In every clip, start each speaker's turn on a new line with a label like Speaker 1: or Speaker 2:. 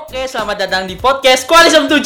Speaker 1: Oke, selamat datang di podcast Kualisem 7.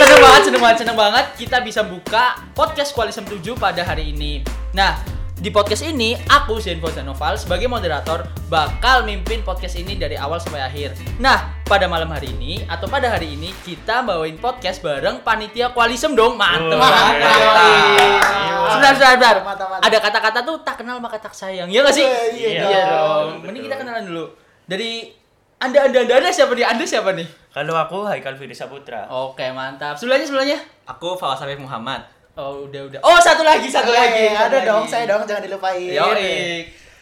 Speaker 1: Seneng banget, seneng banget, seneng banget kita bisa buka podcast Kualisem 7 pada hari ini. Nah, di podcast ini aku Zenvo Zanoval sebagai moderator bakal mimpin podcast ini dari awal sampai akhir. Nah, pada malam hari ini atau pada hari ini kita bawain podcast bareng panitia Kualisem dong. Mantep
Speaker 2: Wah,
Speaker 1: banget.
Speaker 2: mantap.
Speaker 1: Sebentar, sebentar, sebentar.
Speaker 3: iya. Mantap, mantap.
Speaker 1: Ada kata-kata tuh tak kenal maka tak sayang. Ya gak sih?
Speaker 3: Iya, iya
Speaker 1: iya
Speaker 3: dong.
Speaker 1: dong. Mending kita kenalan dulu. Dari anda, anda, anda, anda siapa nih? Anda siapa nih?
Speaker 2: Kalau aku Haikal Firly Saputra.
Speaker 1: Oke mantap. Sebelahnya sebelahnya.
Speaker 4: Aku Fawaz Arif Muhammad.
Speaker 1: Oh udah udah. Oh satu lagi satu
Speaker 3: Oke,
Speaker 1: lagi.
Speaker 3: Iya, ada
Speaker 1: satu
Speaker 3: dong,
Speaker 1: lagi.
Speaker 3: saya dong, jangan dilupain.
Speaker 1: Yoi.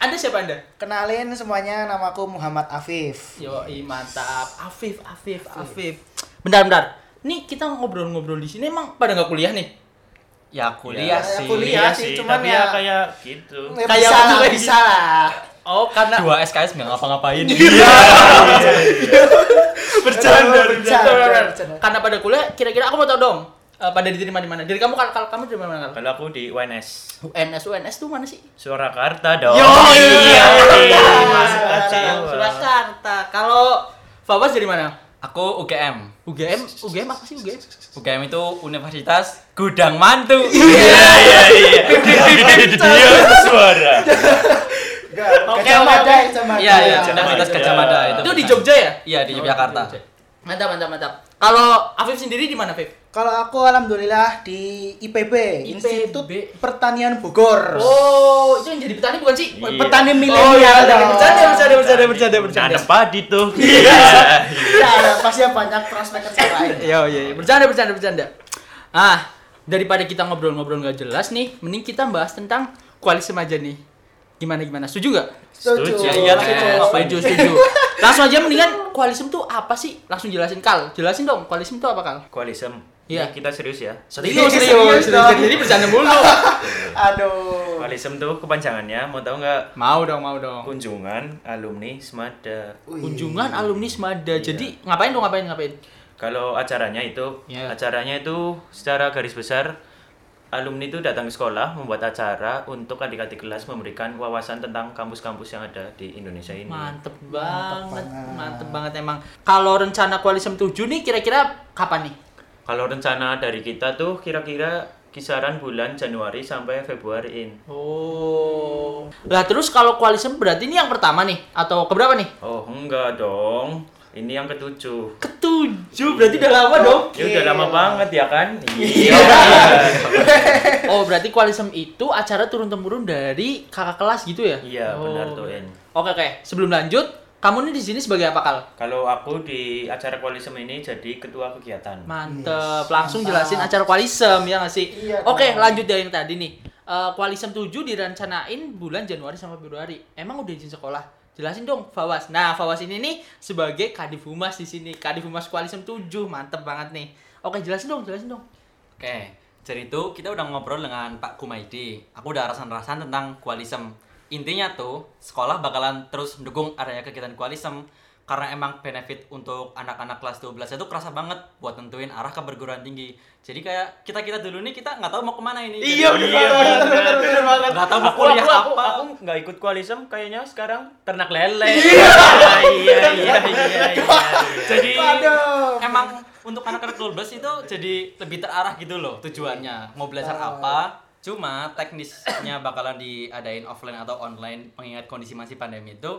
Speaker 1: Anda siapa anda?
Speaker 3: Kenalin semuanya, nama aku Muhammad Afif.
Speaker 1: Yoi mantap. Afif Afif Afif. Bentar bentar. Nih kita ngobrol-ngobrol di sini emang pada nggak kuliah nih?
Speaker 4: Ya
Speaker 3: Ya,
Speaker 4: kuliah sih.
Speaker 3: kuliah. Iya sih,
Speaker 2: Iya.
Speaker 3: cuman
Speaker 2: tapi
Speaker 3: ya-
Speaker 2: ya kayak gitu.
Speaker 3: Ya,
Speaker 1: Kayak
Speaker 3: bisa
Speaker 1: aku
Speaker 3: lah,
Speaker 1: lagi.
Speaker 3: bisa lah.
Speaker 1: Oh karena
Speaker 4: Dua SKS nggak ngapa-ngapain.
Speaker 3: Bercanda, bercanda, bercanda.
Speaker 1: Karena pada kuliah kira-kira aku mau tau dong. eh, pada diterima di mana? Dari kamu kalau kalau kamu diterima di mana? Kal?
Speaker 2: Kalau aku di UNS
Speaker 1: UNS UNS tuh mana sih?
Speaker 2: Surakarta dong.
Speaker 1: Yo, iya.
Speaker 2: iya, masuk aja.
Speaker 1: Surakarta. Kalau Fabas dari mana?
Speaker 4: Aku UGM.
Speaker 1: UGM, UGM apa sih UGM?
Speaker 4: UGM itu Universitas Gudang Mantu.
Speaker 2: Iya iya iya. Dia suara.
Speaker 3: Enggak,
Speaker 1: Oke,
Speaker 3: kacamata,
Speaker 1: oke.
Speaker 3: kacamata.
Speaker 4: Iya iya.
Speaker 2: Kacamata.
Speaker 4: Universitas Gajah Mada itu.
Speaker 1: Itu di Jogja ya?
Speaker 4: Iya di Yogyakarta.
Speaker 1: Oh, di Jogja. Mantap, mantap, mantap. Kalau Afif sendiri di mana, Afif?
Speaker 3: Kalau aku alhamdulillah di IPB,
Speaker 1: IPB.
Speaker 3: Institut Pertanian Bogor.
Speaker 1: Oh, itu yang jadi petani bukan sih?
Speaker 2: Iya.
Speaker 3: Petani
Speaker 1: Oh iya,
Speaker 3: milenial
Speaker 1: bercanda,
Speaker 3: dong.
Speaker 1: bercanda, bercanda, bercanda, bercanda, bercanda.
Speaker 2: Nanam padi tuh. Iya.
Speaker 3: Iya, pasti yang banyak prospek kerja lain.
Speaker 1: Iya, iya, iya. bercanda, bercanda, bercanda. Ah, daripada kita ngobrol-ngobrol nggak jelas nih, mending kita bahas tentang koalisi aja nih. Gimana gimana? Setuju gak?
Speaker 3: Setuju.
Speaker 2: Setuju.
Speaker 4: Ya, iya,
Speaker 3: setuju.
Speaker 4: iya. Apa
Speaker 1: Setuju, setuju. Langsung aja mendingan koalism tuh apa sih? Langsung jelasin Kal. Jelasin dong koalism tuh apa Kal?
Speaker 2: Koalisem.
Speaker 1: Iya.
Speaker 2: Iya. Kita serius ya.
Speaker 1: Serius,
Speaker 3: Serius,
Speaker 1: serius,
Speaker 3: serius
Speaker 1: serius.
Speaker 3: dong.
Speaker 1: Jadi bercanda mulu.
Speaker 3: Aduh.
Speaker 2: Koalisem tuh kepanjangannya mau tahu nggak?
Speaker 1: mau dong, mau dong.
Speaker 2: Kunjungan alumni Semada.
Speaker 3: Wih.
Speaker 1: kunjungan alumni Semada. Jadi ngapain dong ngapain ngapain?
Speaker 2: Kalau acaranya itu,
Speaker 1: Iya.
Speaker 2: acaranya itu secara garis besar alumni itu datang ke sekolah membuat acara untuk adik-adik kelas memberikan wawasan tentang kampus-kampus yang ada di Indonesia ini.
Speaker 1: Mantep banget,
Speaker 3: banget.
Speaker 1: mantep banget emang. Kalau rencana koalisem 7 nih kira-kira kapan nih?
Speaker 2: Kalau rencana dari kita tuh kira-kira kisaran bulan Januari sampai Februari.
Speaker 1: Oh. Lah terus kalau koalisem berarti ini yang pertama nih atau keberapa nih?
Speaker 2: Oh, enggak dong. Ini yang ketujuh.
Speaker 1: Ketujuh berarti udah lama dong.
Speaker 2: Ya udah lama banget ya kan? Iya.
Speaker 1: Oh berarti koalisem itu acara turun temurun dari kakak kelas gitu ya?
Speaker 2: Iya,
Speaker 1: Oh.
Speaker 2: benar tuh, En.
Speaker 1: Oke oke. Sebelum lanjut, kamu nih di sini sebagai apa kal?
Speaker 2: Kalau aku di acara koalisem ini jadi ketua kegiatan.
Speaker 1: Mantep. Langsung jelasin acara koalisem ya nggak sih?
Speaker 3: Iya,
Speaker 1: Oke,
Speaker 3: dong.
Speaker 1: lanjut dari yang tadi nih. Eh, koalisem 7 direncanain bulan Januari sampai Februari. Emang udah izin sekolah? Jelasin dong, Fawas. Nah, Fawas ini nih sebagai Kadif Humas di sini. Kadif Humas Koalisem 7. Mantep banget nih. Oke, jelasin dong, jelasin dong.
Speaker 4: Oke. Jadi itu kita udah ngobrol dengan Pak Kumaidi. Aku udah rasan-rasan tentang koalisem. Intinya tuh sekolah bakalan terus mendukung adanya kegiatan koalisem karena emang benefit untuk anak-anak kelas 12 itu kerasa banget buat tentuin arah ke perguruan tinggi. Jadi kayak kita-kita dulu nih kita nggak tahu mau kemana ini. Jadi-
Speaker 2: Iya,
Speaker 1: Iya,
Speaker 2: benar, benar, benar banget.
Speaker 4: Nggak tahu mau
Speaker 2: Aku,
Speaker 4: kuliah
Speaker 2: aku, aku,
Speaker 4: apa.
Speaker 2: aku nggak ikut koalisem kayaknya sekarang ternak lele. Iya, iya, iya, iya, iya. Jadi
Speaker 3: Aduh.
Speaker 4: emang untuk anak-anak 12 itu jadi lebih terarah gitu loh tujuannya mau belajar apa cuma teknisnya bakalan diadain offline atau online mengingat kondisi masih pandemi itu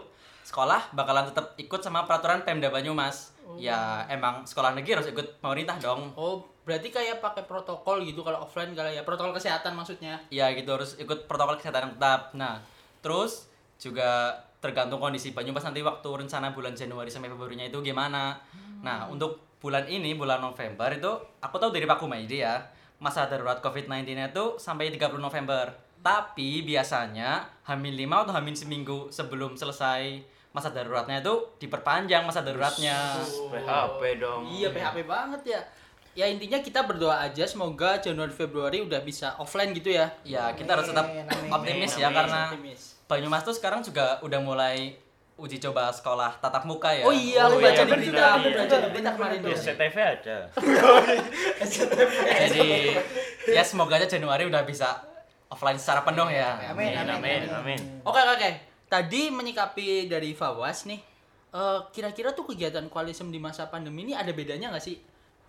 Speaker 4: sekolah bakalan tetap ikut sama peraturan Pemda Banyumas ya emang sekolah negeri harus ikut pemerintah dong
Speaker 1: Oh, berarti kayak pakai protokol gitu kalau offline kali ya. Protokol kesehatan maksudnya.
Speaker 4: ya gitu harus ikut protokol kesehatan yang tetap nah terus juga tergantung kondisi Banyumas nanti waktu rencana bulan Januari sampai Februarinya itu gimana nah untuk bulan ini bulan November itu aku tahu dari Pak Kumaidi ya masa darurat COVID-19 nya itu sampai 30 November tapi biasanya hamin 5 atau hamin seminggu sebelum selesai masa daruratnya itu diperpanjang masa daruratnya
Speaker 2: PHP dong.
Speaker 1: Iya, PHP banget ya. Ya intinya kita berdoa aja semoga Januari Februari udah bisa offline gitu ya.
Speaker 2: Iya.
Speaker 4: ya kita harus tetap
Speaker 3: Amin, amin.
Speaker 4: optimis ya
Speaker 2: Amin.
Speaker 4: karena
Speaker 1: Optimis.
Speaker 4: Banyumas tuh sekarang juga udah mulai uji coba sekolah tatap muka ya.
Speaker 1: Oh iya, aku
Speaker 2: Oh
Speaker 1: baca
Speaker 2: iya,
Speaker 1: di berita,
Speaker 2: benar,
Speaker 1: aku
Speaker 2: iya.
Speaker 1: baca di berita kemarin
Speaker 2: Di
Speaker 1: tuh.
Speaker 2: SCTV ada.
Speaker 4: Jadi ya semoga aja Januari udah bisa offline secara penuh ya.
Speaker 3: Amin, amin,
Speaker 2: Amin, amin.
Speaker 1: Oke, oke, oke. Tadi menyikapi dari Fawas nih, eh, kira-kira tuh kegiatan koalisem di masa pandemi ini ada bedanya nggak sih?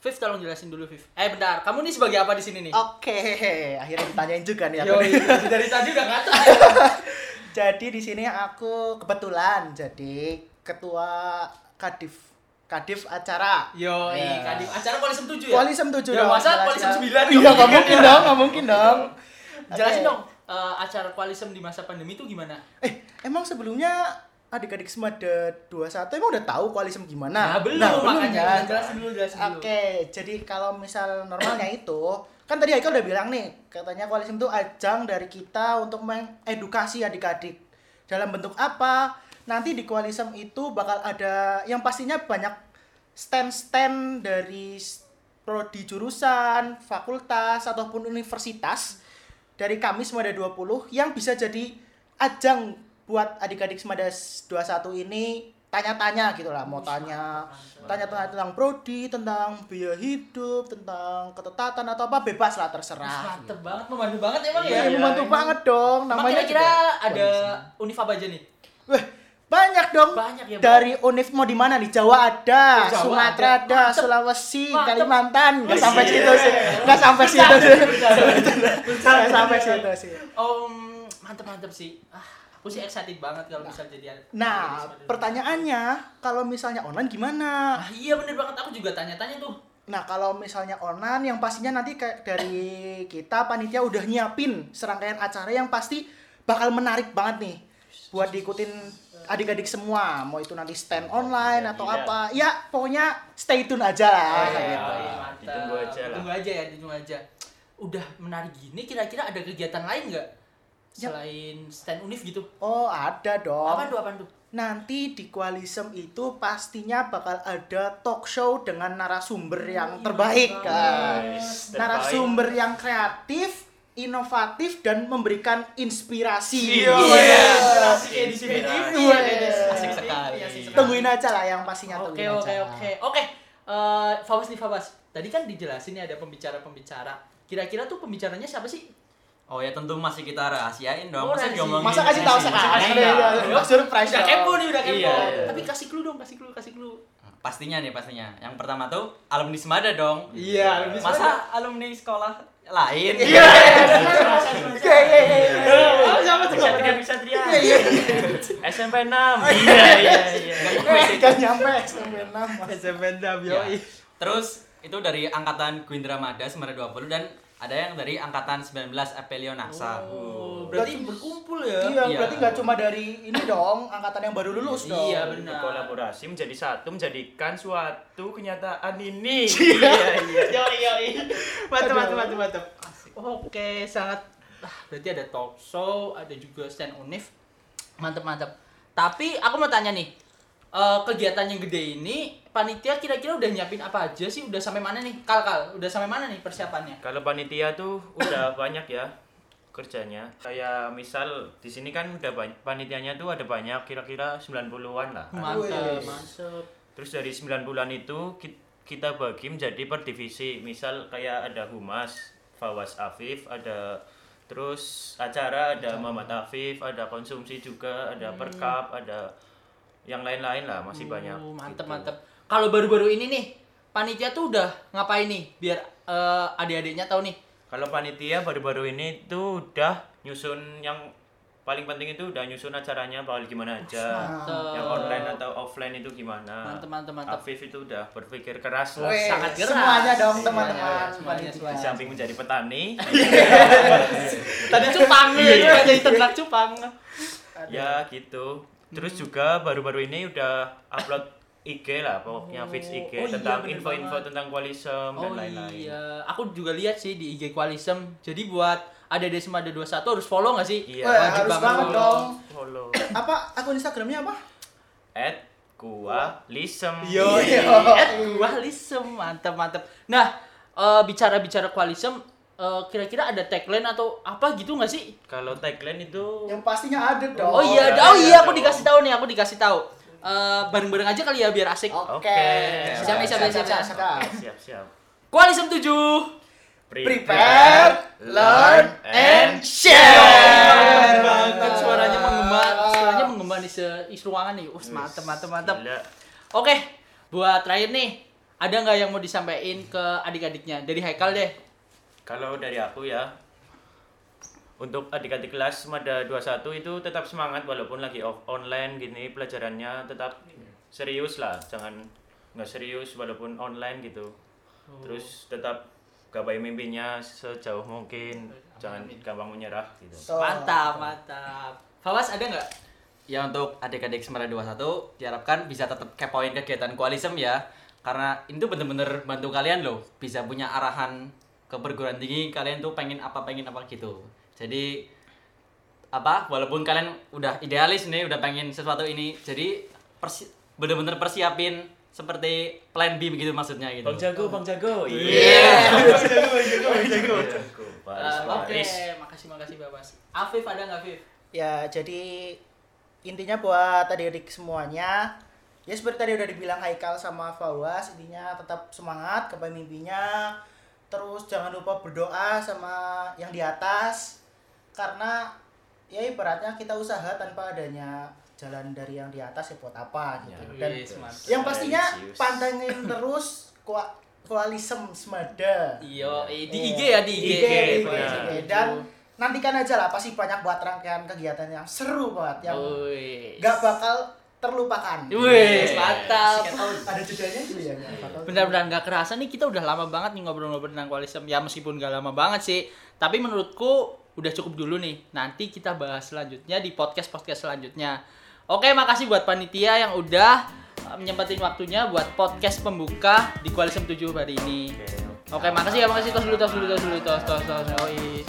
Speaker 1: Viv tolong jelasin dulu Viv. Eh bentar, kamu nih sebagai apa di sini nih?
Speaker 3: Oke, akhirnya ditanyain juga nih aku.
Speaker 1: Yoi, dari tadi udah ngaca.
Speaker 3: Jadi di sini aku kebetulan jadi ketua Kadif Kadif acara.
Speaker 1: Yoi,
Speaker 3: Ya.
Speaker 1: Kadif. Acara koalisem 7 ya?
Speaker 3: Koalisem 7
Speaker 1: Ya,
Speaker 3: dong.
Speaker 1: masa
Speaker 3: jelasnya.
Speaker 1: koalisem 9?
Speaker 3: Iya, nggak mungkin dong, nggak mungkin dong.
Speaker 1: Jelasin
Speaker 3: Oke.
Speaker 1: dong eh, acara koalisem di masa pandemi itu gimana?
Speaker 3: Eh, emang sebelumnya adik-adik Semada 21 emang udah tahu koalisem
Speaker 1: Nah,
Speaker 3: gimana?
Speaker 1: belum, makanya.
Speaker 3: kan?
Speaker 1: Jelasin dulu, jelasin dulu.
Speaker 3: Oke, jadi kalau misal normalnya itu, kan tadi Haikal udah bilang nih, katanya koalisem itu ajang dari kita untuk mengedukasi adik-adik. Dalam bentuk apa? Nanti di koalisem itu bakal ada yang pastinya banyak stand-stand dari s- prodi jurusan, fakultas ataupun universitas dari kami Semada 20 yang bisa jadi ajang buat adik-adik Semada 21 ini tanya-tanya gitu lah, mau tanya tanya-tanya tentang prodi, tentang biaya hidup, tentang ketetatan atau apa bebas lah terserah.
Speaker 1: Mantep banget, membantu banget emang ya.
Speaker 3: Nah, gitu. Iya, membantu banget dong.
Speaker 1: Emang
Speaker 3: Namanya
Speaker 1: kira-kira
Speaker 3: juga
Speaker 1: ada
Speaker 3: koalisem.
Speaker 1: univ apa aja nih?
Speaker 3: Weh, banyak dong.
Speaker 1: Banyak ya, Bang. Oh,
Speaker 3: Dari univ mau di mana nih? Jawa ada,
Speaker 1: Jawa
Speaker 3: Sumatera
Speaker 1: ada.
Speaker 3: ada,
Speaker 1: Mantep.
Speaker 3: Sulawesi,
Speaker 1: Mantep.
Speaker 3: Kalimantan. Enggak
Speaker 1: Wih,
Speaker 3: sampai
Speaker 1: iya.
Speaker 3: situ sih. Enggak sampai situ sih. Nggak sampai situ sih.
Speaker 1: Om, mantep-mantep sih. Ah, aku sih excited banget kalau bisa jadi anak-
Speaker 3: Nah,
Speaker 1: anak-
Speaker 3: pertanyaannya kalau misalnya online gimana?
Speaker 1: Ah, iya bener banget, aku juga tanya-tanya tuh.
Speaker 3: Nah, kalau misalnya onan yang pastinya nanti kayak dari kita panitia udah nyiapin serangkaian acara yang pasti bakal menarik banget nih buat diikutin adik-adik semua, mau itu nanti stand online atau apa. Ya, pokoknya stay tune aja lah
Speaker 1: Oh,
Speaker 3: kayak
Speaker 1: iya,
Speaker 3: gitu.
Speaker 1: iya, mantap.
Speaker 2: Ditunggu aja lah.
Speaker 1: Ditunggu aja ya, ditunggu aja. Udah menarik gini, kira-kira ada kegiatan lain nggak?
Speaker 3: Ya.
Speaker 1: Selain stand univ gitu.
Speaker 3: Oh, ada dong.
Speaker 1: Apaan tuh, apaan tuh?
Speaker 3: Nanti di Kualisem itu pastinya bakal ada talk show dengan narasumber yang terbaik. kan? guys.
Speaker 2: Nice,
Speaker 3: narasumber yang kreatif, inovatif dan memberikan inspirasi.
Speaker 2: Iya.
Speaker 3: Iya.
Speaker 1: Asik ya di
Speaker 2: Inspirasi.
Speaker 1: CBTV.
Speaker 3: Iya.
Speaker 4: Asik sekali.
Speaker 3: Tungguin aja lah yang pastinya
Speaker 1: Oke
Speaker 3: tungguin aja.
Speaker 1: oke oke oke. Eh, Fabas nih Fabas. Tadi kan dijelasin nih ada pembicara-pembicara. Kira-kira tuh pembicaranya siapa sih?
Speaker 4: Oh ya tentu masih kita rahasiain dong.
Speaker 1: Oh,
Speaker 4: Masa
Speaker 1: rahasia.
Speaker 4: diomongin.
Speaker 3: Masa kasih tahu
Speaker 4: Masih-
Speaker 3: sekarang?
Speaker 4: masih-
Speaker 3: Udah, udah,
Speaker 4: Iya.
Speaker 3: udah. Surprise
Speaker 1: Udah
Speaker 3: dong.
Speaker 1: kepo nih, udah kepo.
Speaker 4: Iya, iya.
Speaker 1: Tapi kasih clue dong, kasih clue, kasih clue.
Speaker 4: Pastinya nih pastinya. Yang pertama tuh alumni Semada dong.
Speaker 1: Iya, lebih
Speaker 4: Masa alumni sekolah lain?
Speaker 3: Iya. Iya, iya, iya, iya.
Speaker 1: siapa tuh?
Speaker 2: Satria Satria. SMP 6. Iya iya iya.
Speaker 3: Eh, Gak nyampe SMP enam, Mas.
Speaker 1: Iya.
Speaker 4: Ya. Terus itu dari angkatan Gwindra Mada Semada 20 dan ada yang dari angkatan 19 Apelio Naksa.
Speaker 1: Oh, berarti berkumpul ya.
Speaker 3: Iya,
Speaker 4: Iya.
Speaker 3: berarti nggak cuma dari ini dong, angkatan yang baru lulus dong.
Speaker 1: Iya, benar.
Speaker 2: Berkolaborasi menjadi satu menjadikan suatu kenyataan ini. Iya iya.
Speaker 1: Yoi yoi. Mantap
Speaker 3: Aduh.
Speaker 1: mantap mantap mantap. Oke, sangat ah, berarti ada talk show, ada juga stand univ. Mantap mantap. Tapi aku mau tanya nih. eh, kegiatan yang gede ini panitia kira-kira udah nyiapin apa aja sih? Udah sampai mana nih? Kal kal, udah sampai mana nih persiapannya?
Speaker 2: Kalau panitia tuh udah banyak ya kerjanya. Kayak misal di sini kan udah banyak panitianya tuh ada banyak kira-kira 90-an lah.
Speaker 1: Mantap,
Speaker 3: Wih.
Speaker 1: mantap.
Speaker 2: Terus dari 90-an itu ki- kita bagi menjadi per divisi. Misal kayak ada humas, Fawas Afif, ada terus acara ada Mamat Afif, ada konsumsi juga,
Speaker 1: Hmm.
Speaker 2: ada perkap, ada yang lain-lain lah masih banyak.
Speaker 1: Uh, mantep
Speaker 2: gitu.
Speaker 1: mantep. Kalau baru-baru ini nih, panitia tuh udah ngapain nih? Biar eh, adik-adiknya tahu nih.
Speaker 2: Kalau panitia baru-baru ini tuh udah nyusun yang paling penting itu udah nyusun acaranya bakal gimana aja.
Speaker 1: mantap.
Speaker 2: Yang online atau offline itu gimana.
Speaker 1: Mantep, mantep, mantep.
Speaker 2: Afif itu udah berpikir keras lah.
Speaker 3: Weh,
Speaker 1: Sangat gerak.
Speaker 3: Semuanya dong
Speaker 1: Semuanya,
Speaker 3: teman-teman.
Speaker 1: semuanya,
Speaker 2: Di
Speaker 1: semuanya.
Speaker 2: samping menjadi petani,
Speaker 1: Tadi cupang, ya, jadi ternak cupang.
Speaker 2: ya gitu. Terus
Speaker 1: Hmm.
Speaker 2: juga baru-baru ini udah upload IG lah pokoknya fix IG
Speaker 1: Oh, iya,
Speaker 2: tentang
Speaker 1: bener
Speaker 2: info-info
Speaker 1: banget.
Speaker 2: tentang kualisem dan
Speaker 1: Oh
Speaker 2: lain-lain.
Speaker 1: iya, aku juga lihat sih di IG Kualisem. Jadi buat ada Desma ada 21 harus follow nggak sih?
Speaker 2: Iya.
Speaker 3: Weh,
Speaker 2: Wajib
Speaker 3: harus
Speaker 1: banget
Speaker 3: banget
Speaker 1: dong.
Speaker 3: dong.
Speaker 2: Follow
Speaker 3: Apa akun Instagramnya apa?
Speaker 2: at kualisem.
Speaker 3: Iya.
Speaker 1: Eh, Kualisem, mantap mantap. Nah, eh, bicara-bicara Kualisem, eh, kira-kira ada tagline atau apa gitu nggak sih?
Speaker 2: Kalau tagline itu
Speaker 3: Yang pastinya ada dong.
Speaker 1: Oh, iya, oh
Speaker 2: ada,
Speaker 1: iya
Speaker 2: ada
Speaker 1: aku
Speaker 2: dong.
Speaker 1: dikasih tahu nih, aku dikasih tahu. Eh, bareng-bareng aja kali ya biar asik.
Speaker 3: Oke.
Speaker 2: Oke.
Speaker 1: Siap, siap, siap, siap, siap.
Speaker 2: siap-siap.
Speaker 1: Kualisem 7.
Speaker 3: Prepare, learn, and share.
Speaker 1: Mantap, suaranya mengembang, suaranya mengembang di se- isi ruangan nih. Us, mantep, mantep, mantep.
Speaker 2: Gila.
Speaker 1: Oke, buat terakhir nih, ada nggak yang mau disampaikan ke adik-adiknya? Dari Haikal deh.
Speaker 2: Kalau dari aku ya, untuk adik-adik kelas Mada 21 itu tetap semangat walaupun lagi off online gini pelajarannya tetap serius lah, jangan nggak serius walaupun online gitu. Terus tetap gapai mimpinya sejauh mungkin, jangan gampang menyerah gitu.
Speaker 3: So,
Speaker 1: Mantap, mantap. Fawas ada nggak?
Speaker 4: Ya untuk adik-adik Semara 21 diharapkan bisa tetap kepoin kegiatan koalisem ya. Karena itu bener-bener bantu kalian loh bisa punya arahan ke perguruan tinggi kalian tuh pengen apa pengen apa gitu. Jadi apa walaupun kalian udah idealis nih udah pengen sesuatu ini jadi persi bener-bener persiapin seperti plan B begitu maksudnya gitu.
Speaker 2: Bang Jago, Bang Jago. Iya. Jago, Paris,
Speaker 1: Eh, Oke,
Speaker 2: Paris.
Speaker 1: makasih, makasih Fawas. Afif ada nggak, Afif?
Speaker 3: ya jadi intinya buat adik-adik semuanya ya seperti tadi udah dibilang Haikal sama Fawaz intinya tetap semangat kepada mimpinya terus jangan lupa berdoa sama yang di atas karena ya ibaratnya kita usaha tanpa adanya jalan dari yang di atas ya buat apa gitu
Speaker 2: Ya,
Speaker 3: dan
Speaker 1: Yes, mantap.
Speaker 3: yang pastinya
Speaker 2: Serius.
Speaker 3: pantengin terus koa- koalisem semada
Speaker 1: Iyo, eh, di IG ya, di IG.
Speaker 3: IG,
Speaker 2: IG,
Speaker 1: Fawas.
Speaker 2: benar.
Speaker 3: IG. dan nantikan aja lah pasti banyak buat rangkaian kegiatan yang seru banget yang
Speaker 1: Wih.
Speaker 3: nggak bakal terlupakan.
Speaker 1: Oh, Wih, mantap. Oh,
Speaker 3: Sekian tahun. Ada jedanya gitu ya. nggak bakal-
Speaker 1: benar-benar nggak kerasa nih kita udah lama banget nih ngobrol-ngobrol tentang koalisem ya meskipun nggak lama banget sih tapi menurutku udah cukup dulu nih nanti kita bahas selanjutnya di podcast podcast selanjutnya oke makasih buat panitia yang udah eh, menyempatin waktunya buat podcast pembuka di koalisem 7 hari ini oke makasih ya makasih tos dulu tos dulu tos dulu tos tos tos yoi.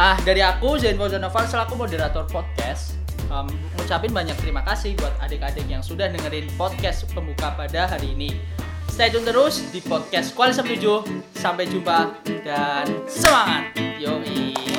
Speaker 1: ah dari aku Zain Fauzan Noval selaku moderator podcast em, ngucapin banyak terima kasih buat adik-adik yang sudah dengerin podcast pembuka pada hari ini. Stay tune terus di podcast Kualisem 7. Sampai jumpa dan semangat. Yoi.